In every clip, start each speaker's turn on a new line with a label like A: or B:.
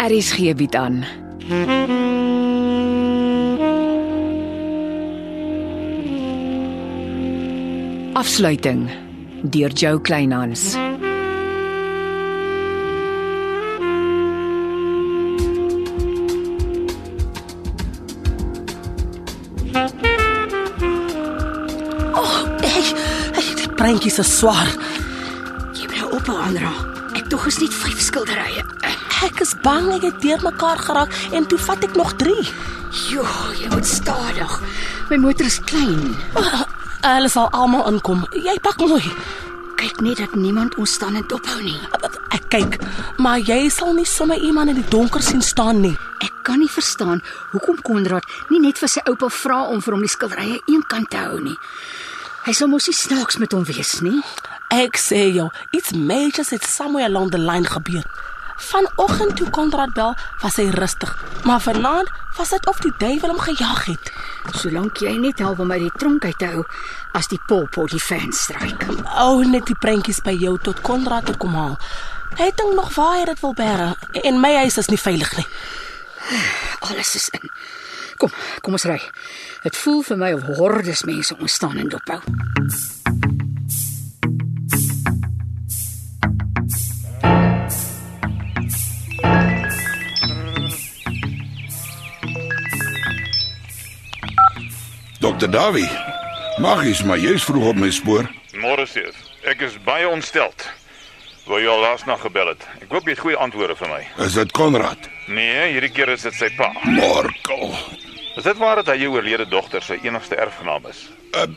A: Aries gee bied Er aan. Afsluiting deur Jo Kleinhans.
B: Hey, hey, die prentjies is swaar.
C: Jy moet nou ophou aandra. Ek tog is net vyf skilderye.
B: Ek is bang ek het deurmekaar geraak en toe vat ek nog 3.
C: Jo, jy moet stadig. My motor is klein.
B: Uh, Hulle sal almal inkom. Jy pak mooi.
C: Kyk net dat niemand ons staan en dophou nie.
B: Ek kyk, maar jy sal nie sommer iemand in die donker sien staan nie.
C: Ek kan nie verstaan hoekom Konrad nie net vir sy oupa vra om vir hom die skilderye eenkant te hou nie. Hy sal mos nie snaaks met hom wees nie.
B: Ek sê jou, iets majors het somewhere along the line gebeur. Vanoggend toe Konrad bel, was hy rustig, maar vanaand was dit of die duiwel hom gejaag het.
C: Solank jy net help om uit die tronk uit te hou as die polpot die fan stryk.
B: Ou net die prentjies by jou tot Konrad toe kom haal. Hy dink nog waar hy dit wil bære en my huis is nie veilig nie.
C: Alles is in. Kom, kom ons ry. Dit voel vir my of hordes mense ons staan en dophou.
D: Dokter Dawie. Magies, maar jy's vroeg op my spoor.
E: Môre seef. Ek is baie ontsteld. Wou jy al laas nag gebel het. Ek hoop jy het goeie antwoorde vir my.
D: Is dit Konrad?
E: Nee, hierdie keer is dit sy pa.
D: Morkel.
E: Is dit waar dat hy jou oorlede dogter sy enigste erfgenaam is?
D: Uh,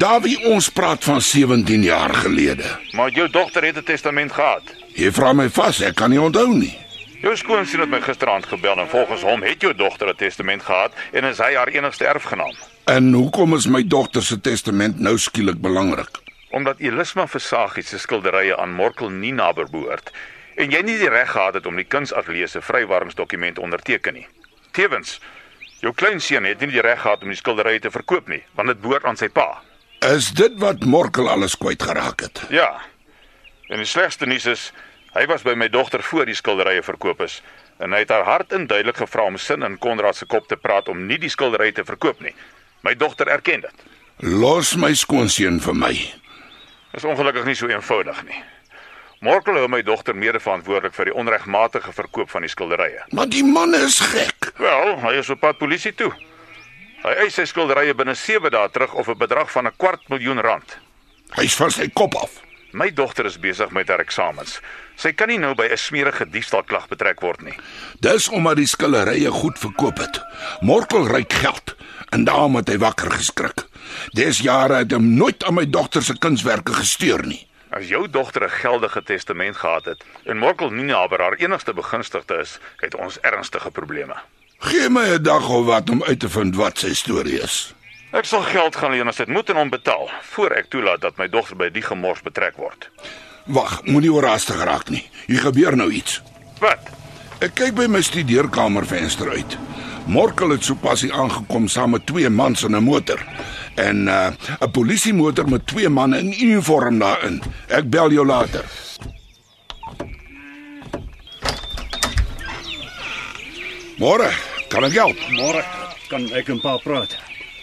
D: Dawie, ons praat van 17 jaar gelede.
E: Maar jou dogter het 'n testament gehad.
D: Jy vra my vas, ek kan nie onthou nie.
E: Jou skoonseun het my gisteraand gebel en volgens hom het jou dogter 'n testament gehad en is hy haar enigste erfgenaam.
D: En hoekom is my dogter se testament nou skielik belangrik?
E: Omdat Elisma Versagie se skilderye aan Morkel Nina behoort en jy nie die reg gehad het om die kunsatelier se vrywaringsdokument onderteken nie. Tewens, jou kleinseun het nie die reg gehad om die skilderye te verkoop nie, want dit behoort aan sy pa.
D: Is dit wat Morkel alles kwytgeraak het?
E: Ja. En die slegste nuus is, hy was by my dogter voor die skilderye verkoop is en hy het haar hard en duidelik gevra om sin in Konrad se kop te praat om nie die skilderye te verkoop nie. My dogter erken dit.
D: Los my skoonseun vir my.
E: Is ongelukkig nie so eenvoudig nie. Morkel hou my dogter mede-verantwoordelik vir die onregmatige verkoop van die skilderye.
D: Maar die man is gek.
E: Wel, hy is op pad polisie toe. Hy eis sy skilderye binne 7 dae terug of 'n bedrag van 'n kwart miljoen rand.
D: Hy's van sy kop af.
E: My dogter is besig met haar eksamens. Sy kan nie nou by 'n smerige diefstalklag betrek word nie.
D: Dis omdat die skillerye goed verkoop het. Morkel ryk geld en daarom het hy wakker geskrik. Dis jare het hom nooit aan my dogter se kunswerke gesteur nie.
E: As jou dogter 'n geldige testament gehad het en Morkel Nina haar haar enigste begunstigde is, het ons ernstige probleme.
D: Gee my 'n dag of wat om uit te vind wat sy storie is.
E: Ek sal geld gaan leen as dit moet en hom betaal voor ek toelaat dat my dogter by die gemors betrek word.
D: Wag, moenie oorhaastig raak nie. Hier gebeur nou iets.
E: Wat?
D: Ek kyk by my studeerkamervenster uit. Morkel het sopas hier aangekom saam met twee mans in 'n motor. En uh, 'n polisiemotor met twee manne in uniform daarin. Ek bel jou later. Môre, kan ek help?
F: Môre kan ek 'n paar praat.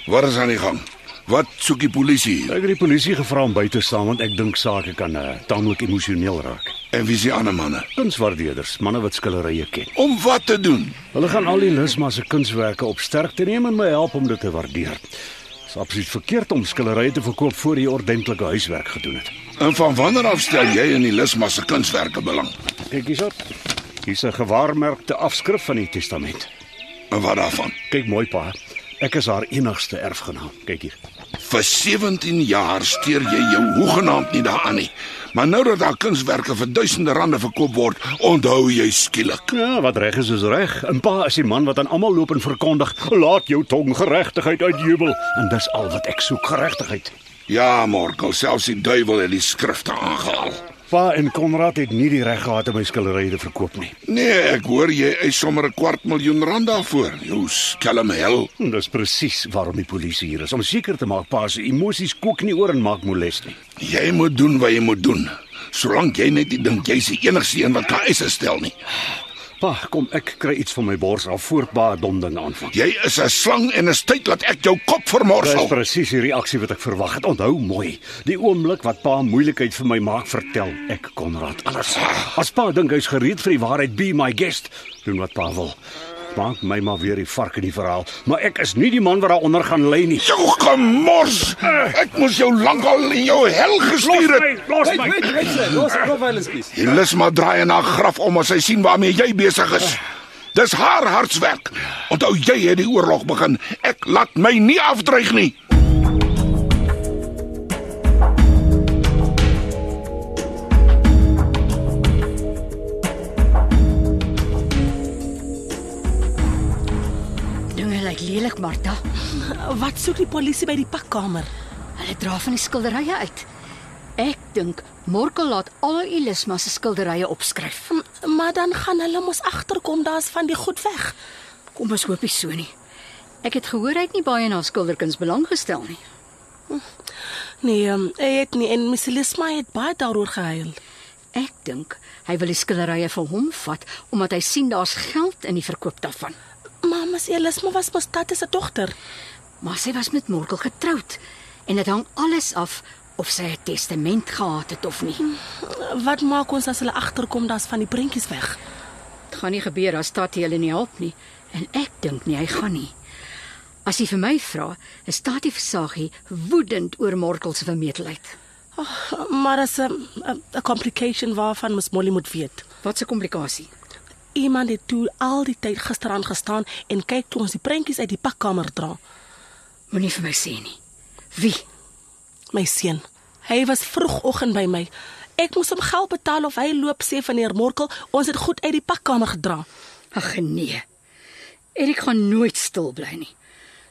D: Wat is aan die gang? Wat soek die polisie hier?
F: Ek het die polisie gevra om by te staan want ek dink sake kan uh, taamlik emosioneel raak.
D: En wie is die ander manne?
F: Kunswaardeerders, manne wat skillerye ken.
D: Om wat te doen?
F: Hulle gaan al die Lisma se kunswerke op sterkte neem en my help om dit te waardeer. Dit is absoluut verkeerd om skillerye te verkoop voor jy ordentlike huiswerk gedoen het.
D: En van wanneer af stel jy in die Lisma se kunswerke belang?
F: Kyk hierop. Hier's 'n gewaarmerkte afskrif van die testament.
D: En wat daarvan?
F: Kyk mooi pa. Ek is haar enigste erfgenaam. Kyk hier.
D: Vir 17 jaar steur jy jou hoegenaamd nie daaraan nie. Maar nou dat haar kunswerke vir duisende rande verkoop word, onthou jy skielik.
F: Ja, wat reg is is reg. 'n Pa is die man wat aan almal loop en verkondig: "Laat jou tong geregtigheid uitjubel." En dis al wat ek soek, geregtigheid.
D: Ja, Morkel, selfs die duiwel het die skrifte aangehaal.
F: Pa en Konrad het nie die reg gehad om my skilderye te verkoop nie.
D: Nee, ek hoor jy eis sommer 'n kwart miljoen rand daarvoor. Jou skelm hel.
F: En dis presies waarom die polisie hier is om seker te maak pa se emosies kook nie oor en maak moles nie.
D: Jy moet doen wat jy moet doen. Solank jy net nie dink jy's die enigste een wat kan eise stel nie.
F: Pa, kom ek kry iets van my bors af voor pa donding aanvang.
D: Jy is 'n slang en 'n styt laat ek jou kop
F: Dis
D: vermorsel.
F: presies die reaksie wat ek verwag het. Onthou mooi, die oomblik wat pa moeilikheid vir my maak, vertel ek Konrad alles. As pa dink hy's gereed vir die waarheid, be my guest. Doen wat pa wil. Maak my maar weer die vark in die verhaal, maar ek is nie die man wat daaronder gaan lê nie.
D: Jou gemors. Ek moes jou lankal in jou hel gestuur het.
F: los my.
G: los Profileskies.
D: Die lus maar draai na graf om as hy sien waarmee jy besig is. Dis haar hartswerk. Onthou jy het die oorlog begin. Ek laat my nie afdreig nie.
C: Dinge lyk lelik, Martha.
B: Wat soek die polisie by die pakkamer?
C: Hulle dra van die skilderye uit. Ek dink Morkel laat al Ilisma se skilderye opskryf.
B: M- Maar dan gaan hulle mos agterkom daar's van die goed weg.
C: Kom ons hoop nie so nie. Ek het gehoor hy het nie baie in haar skilderkuns belang gestel nie.
B: Nee, ehm, hy het nie en Missilisma het baie daaroor gehuil.
C: Ek dink hy wil die skilderye vir hom vat omdat hy sien daar's geld in die verkoop daarvan.
B: Maar Missilisma was mos tatte se dogter.
C: Maar sy was met Morkel getroud en dit hang alles af of sy 'n testament gehad het of nie.
B: Wat maak ons as hulle agterkom daar's van die prentjies weg?
C: Dit gaan nie gebeur as Tatie hulle nie help nie en ek dink nie hy gaan nie. As jy vir my vra, is Tatie Versaggie woedend oor Morkel se vermetelheid.
B: Maar as 'n 'n- 'n complication waarvan mos Molly moet weet.
C: Wat 'n komplikasie.
B: Iemand het toe al die tyd gisteraan gestaan en kyk toe ons die prentjies uit die pakkamer dra.
C: Moenie vir my sê nie. Wie?
B: My seun. Hy was vroegoggend by my. Ek moes hom geld betaal of hy loop sê meneer Morkel, ons het goed uit die pakkamer gedra.
C: Ag nee. Erik gaan nooit stil bly nie.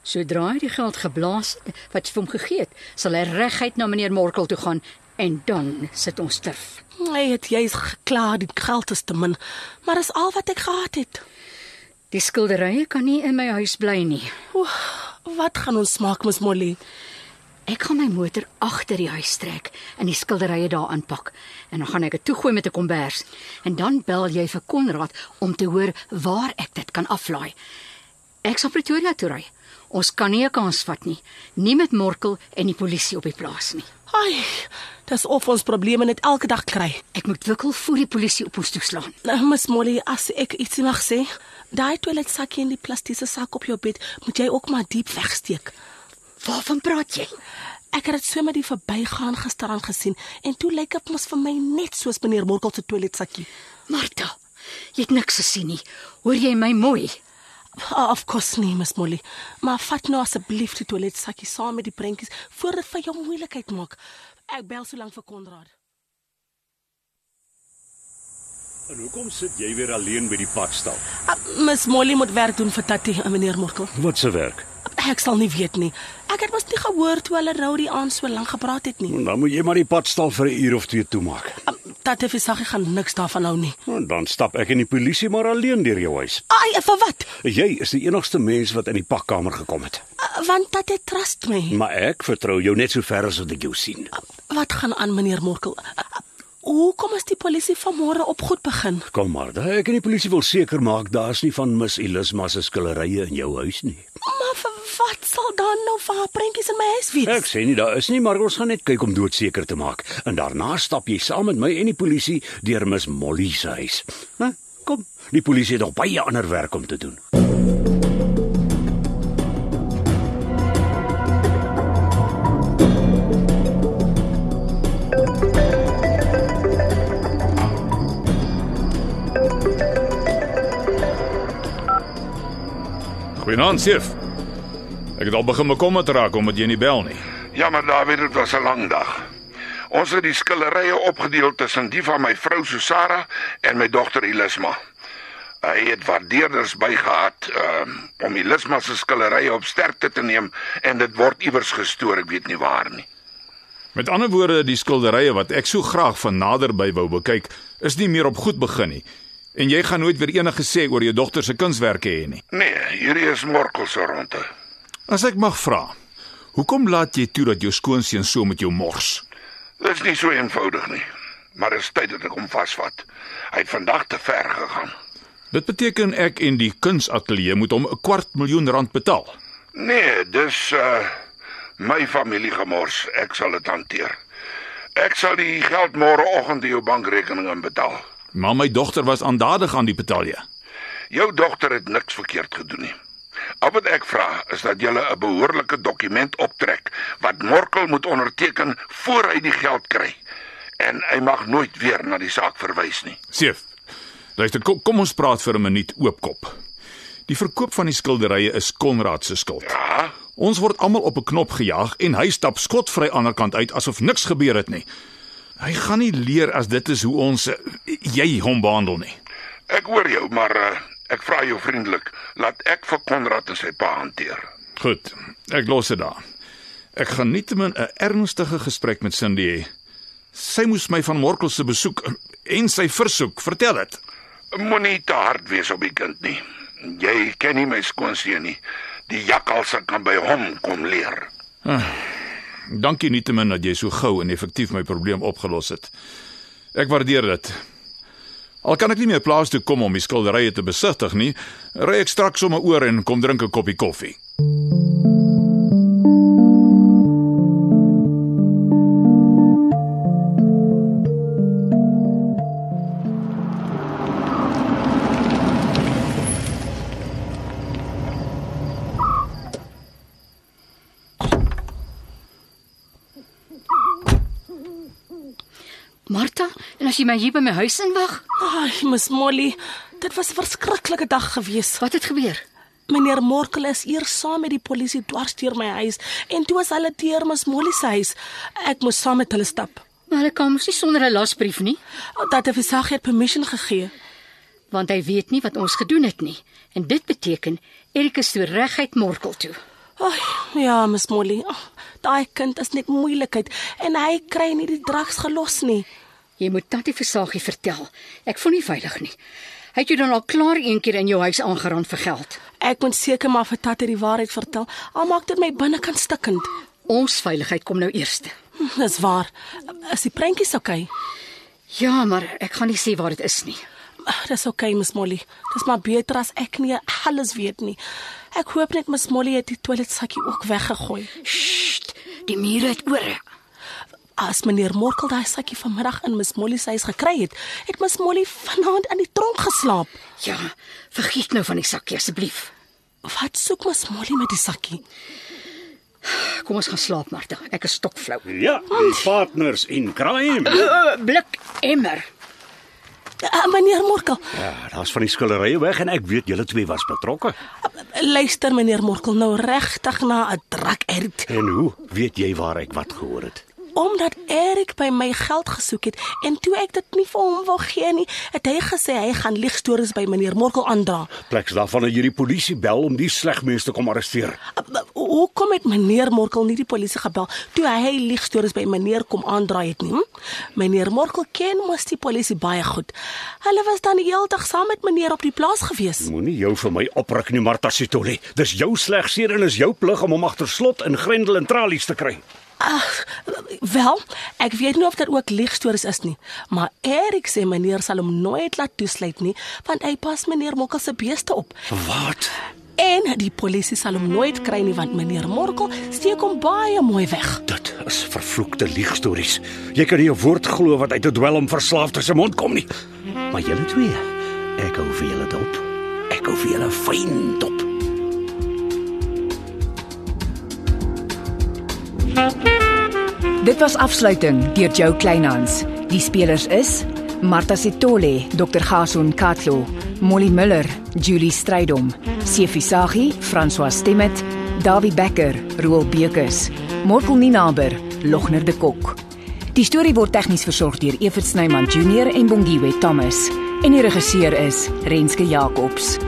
C: Sodra hy die geld geblaas het wat jy vir hom gegee het, sal hy reguit na meneer Morkel toe gaan en dan sit ons terf.
B: Hy het juis gekla die geld is te min, maar dis al wat ek gehad het.
C: Die skilderye kan nie in my huis bly nie.
B: Oeh, wat gaan ons maak, Ms Molly?
C: Ek gaan my motor agter die huis trek en die skilderye daar aanpak en dan gaan ek dit toegooi met 'n kombers en dan bel jy vir Konrad om te hoor waar ek dit kan aflaai. Ek sal Pretoria toe ry. Ons kan nie 'n kans vat nie, nie met Morkel en die polisie op die plaas nie.
B: Ai, dis of ons probleme net elke dag kry.
C: Ek moet wikkel voor die polisie op ons toeslaan.
B: Nou, Ms Molly, as ek ietsie mag sê, daai toiletsakkie en die plastiese sak op jou bed, moet jy ook maar diep wegsteek.
C: Waarvan praat jy?
B: Ek het dit so met die verbygaan gisteraan gesien en toe lyk dit mos vir my net soos meneer Morkel se toiletsakkie.
C: Martha, jy het niks gesien nie. Hoor jy my mooi?
B: Oh, of course nie, Ms Molly, maar vat nou asseblief die toiletsakkie saam met die prentjies voordat dit vir jou moeilikheid maak. Ek bel so lank vir Konrad.
F: En hoekom sit jy weer alleen by die padstal?
B: Ah, Ms Molly moet werk doen vir Tatie en meneer Morkel.
F: Wat se werk?
B: Ek sal nie weet nie. Ek het mos nie gehoor toe hulle rou die aand so lank gepraat het nie. Ah,
F: Nou, Dan moet jy maar die padstal vir 'n uur of twee toemaak.
B: Tatte Visaggie gaan niks daarvan hou nie.
F: En dan stap ek en die polisie maar alleen deur jou huis.
B: Ai, vir wat?
F: Jy is die enigste mens wat in die pakkamer gekom het.
B: Ah, Want Tatte trust my.
F: Maar ek vertrou jou net so ver as wat ek jou sien.
B: Wat gaan aan meneer Morkel? Ah, Hoekom is die polisie vanmôre op goed begin?
F: Kom maar, da, ek en die polisie wil seker maak daar's nie van Miss Ilisma se skillerye in jou huis nie.
B: Maar vir wat sal dan nou vir haar prentjies in my huis
F: Ek
B: wees?
F: sê nie daar is nie, maar ons gaan net kyk om doodseker te maak. En daarna stap jy saam met my en die polisie deur Miss Molly se huis. Hæ? Kom, die polisie het nog baie ander werk om te doen.
G: Goeienaand, Seef. Ek het al begin bekommerd raak omdat jy nie bel nie.
D: Jammer David, dit was 'n lang dag. Ons het die skilderye opgedeel tussen die van my vrou Susara en my dogter Ilisma. Hy het waardeerders bygehad um, om Ilisma se skilderye op sterkte te neem en dit word iewers gestoor, ek weet nie waar nie.
G: Met ander woorde, die skilderye wat ek so graag van naderby wou bekyk, is nie meer op goed begin nie. En jy gaan nooit weer enige sê oor jou dogter se kunswerke hê nie.
D: Nee, hierdie is Morkel se ronde.
G: As ek mag vra, hoekom laat jy toe dat jou skoonseun so met jou mors?
D: Dis nie so eenvoudig nie. Maar is tyd dat ek hom vasvat. Hy het vandag te ver gegaan.
G: Dit beteken ek en die kunsateljee moet hom 'n kwart miljoen rand betaal.
D: Nee, dis uh my familie gemors. Ek sal dit hanteer. Ek sal die geld môreoggend in jou bankrekening inbetaal.
G: Maar my dogter was aandadig aan die betalje.
D: Jou dogter het niks verkeerd gedoen nie. Al wat ek vra is dat jy 'n behoorlike dokument optrek wat Morkel moet onderteken voor hy die geld kry. En hy mag nooit weer na die saak verwys nie.
G: Seef. Luister, kom, kom ons praat vir 'n minuut oopkop. Die verkoop van die skilderye is Konrad se skuld.
D: Ja,
G: Ons word almal op 'n knop gejaag en hy stap skotvry aan die ander kant uit asof niks gebeur het nie. Hy gaan nie leer as dit is hoe ons eh, jy hom behandel nie.
D: ek hoor jou, maar uh, ek vra jou vriendelik, laat ek vir Konrad en sy pa hanteer.
G: Goed, ek los dit daar. Ek gaan nietemin 'n ernstige gesprek met Cindy hê. Sy moes my van Morkel se besoek en sy versoek vertel het.
D: Moenie te hard wees op die kind nie. Jy ken nie my skoonseun nie. Die jakkalse kan by hom kom leer.
G: Dankie nietemin dat jy so gou en effektief my probleem opgelos het. Ek waardeer dit. Al kan ek nie meer plaas toe kom om die skilderye te besigtig nie, ry ek straks sommer oor en kom drink 'n koppie koffie.
C: Martha, en as jy my hier by my huis inwag,
B: Ai, Miss Molly, dit was 'n verskriklike dag gewees.
C: wat het gebeur?
B: Meneer Morkel is eers saam met die polisie dwars deur my huis en toe was hulle deur Miss Molly se huis. Ek moes saam met hulle stap.
C: Maar hulle kom mos nie sonder 'n lasbrief nie,
B: Dat het Visag het permission gegee.
C: want hy weet nie wat ons gedoen het nie. En dit beteken Erik is toe reguit Morkel toe.
B: Ai, ja, Miss Molly. Oh, daai kind is net moeilikheid en hy kry nie die drugs gelos nie.
C: Jy moet tannie Versaagie vertel. Ek voel nie veilig nie. Hy het jou dan al klaar een keer in jou huis aangeraan vir geld.
B: Ek moet seker maar vir Tatie die waarheid vertel. Al maak dit my binnekant stikkend.
C: Ons veiligheid kom nou eerste.
B: Hm, Dis waar. Is die prentjies oukei? Okay?
C: Ja, maar ek gaan nie sê waar dit is nie.
B: Ag, Dis oukei, okay, Miss Molly. Dis maar beter as ek nie alles weet nie. Ek hoop net Miss Molly het die toiletsakkie ook weggegooi.
C: Sst, die mure het ore.
B: As meneer Morkel daai sakkie vanmiddag in Miss Molly se huis gekry het, het Miss Molly vanaand in die tronk geslaap.
C: Ja, vergiet nou van die sakkie asseblief.
B: Wat soek Miss Molly met die sakkie?
C: Kom ons gaan slaap, Martha. Ek is stokflou.
F: Ja, die partners in crime.
C: Uh, blik emmer.
B: Uh, meneer Morkel,
F: Ja, daar's van die skilderye weg en ek weet julle twee was betrokke.
B: luister meneer Morkel nou regtig na 'n drak uit.
F: En hoe weet jy waar ek wat gehoor het?
B: Omdat Erik by my geld gesoek het en toe ek dit nie vir hom wou gee nie, het hy gesê hy gaan liegstories by meneer Morkel aandra.
F: Pleks daarvan dat jy die polisie bel om die slegmense te kom arresteer.
B: Hoekom het meneer Morkel nie die polisie gebel toe hy liegstories by meneer kom aandraai het nie? Hm? Meneer Morkel ken mos die polisie baie goed. Hulle was dan die hele dag saam met meneer op die plaas gewees.
F: Moenie jou vir my opruk nie, Martha Sitole. Dis jou slegseer en is jou plig om hom agter slot en grendel en tralies te kry.
B: Ag, wel, ek weet nie of dit ook liegstories is nie, maar Erik sê meneer sal hom nooit laat toesluit nie, want hy pas meneer Morkel se beeste op.
F: Wat?
B: En die polisie sal hom nooit kry nie want meneer Morkel steek hom baie mooi weg.
F: Dit is vervloekte leegstories. Jy kan nie 'n woord glo wat uit 'n dwelm verslaafde se mond kom nie. Maar julle twee, ek hou vir julle dop. Ek hou vir julle fyn dop.
A: Dit was afsluiting deur Jo Kleinhans. Die spelers is Martha Sitole, Dr. Gason Katlo, Molly Müller, Julie Strydom, Sefi Saghi, François Stemmet, Dawie Becker, Roel Bekus, Morkel Ninaber, Logner de Kok. Die storie word tegnies versorg deur Evert Snyman Junior en Bongwe Thomas en die regisseur is Renske Jacobs.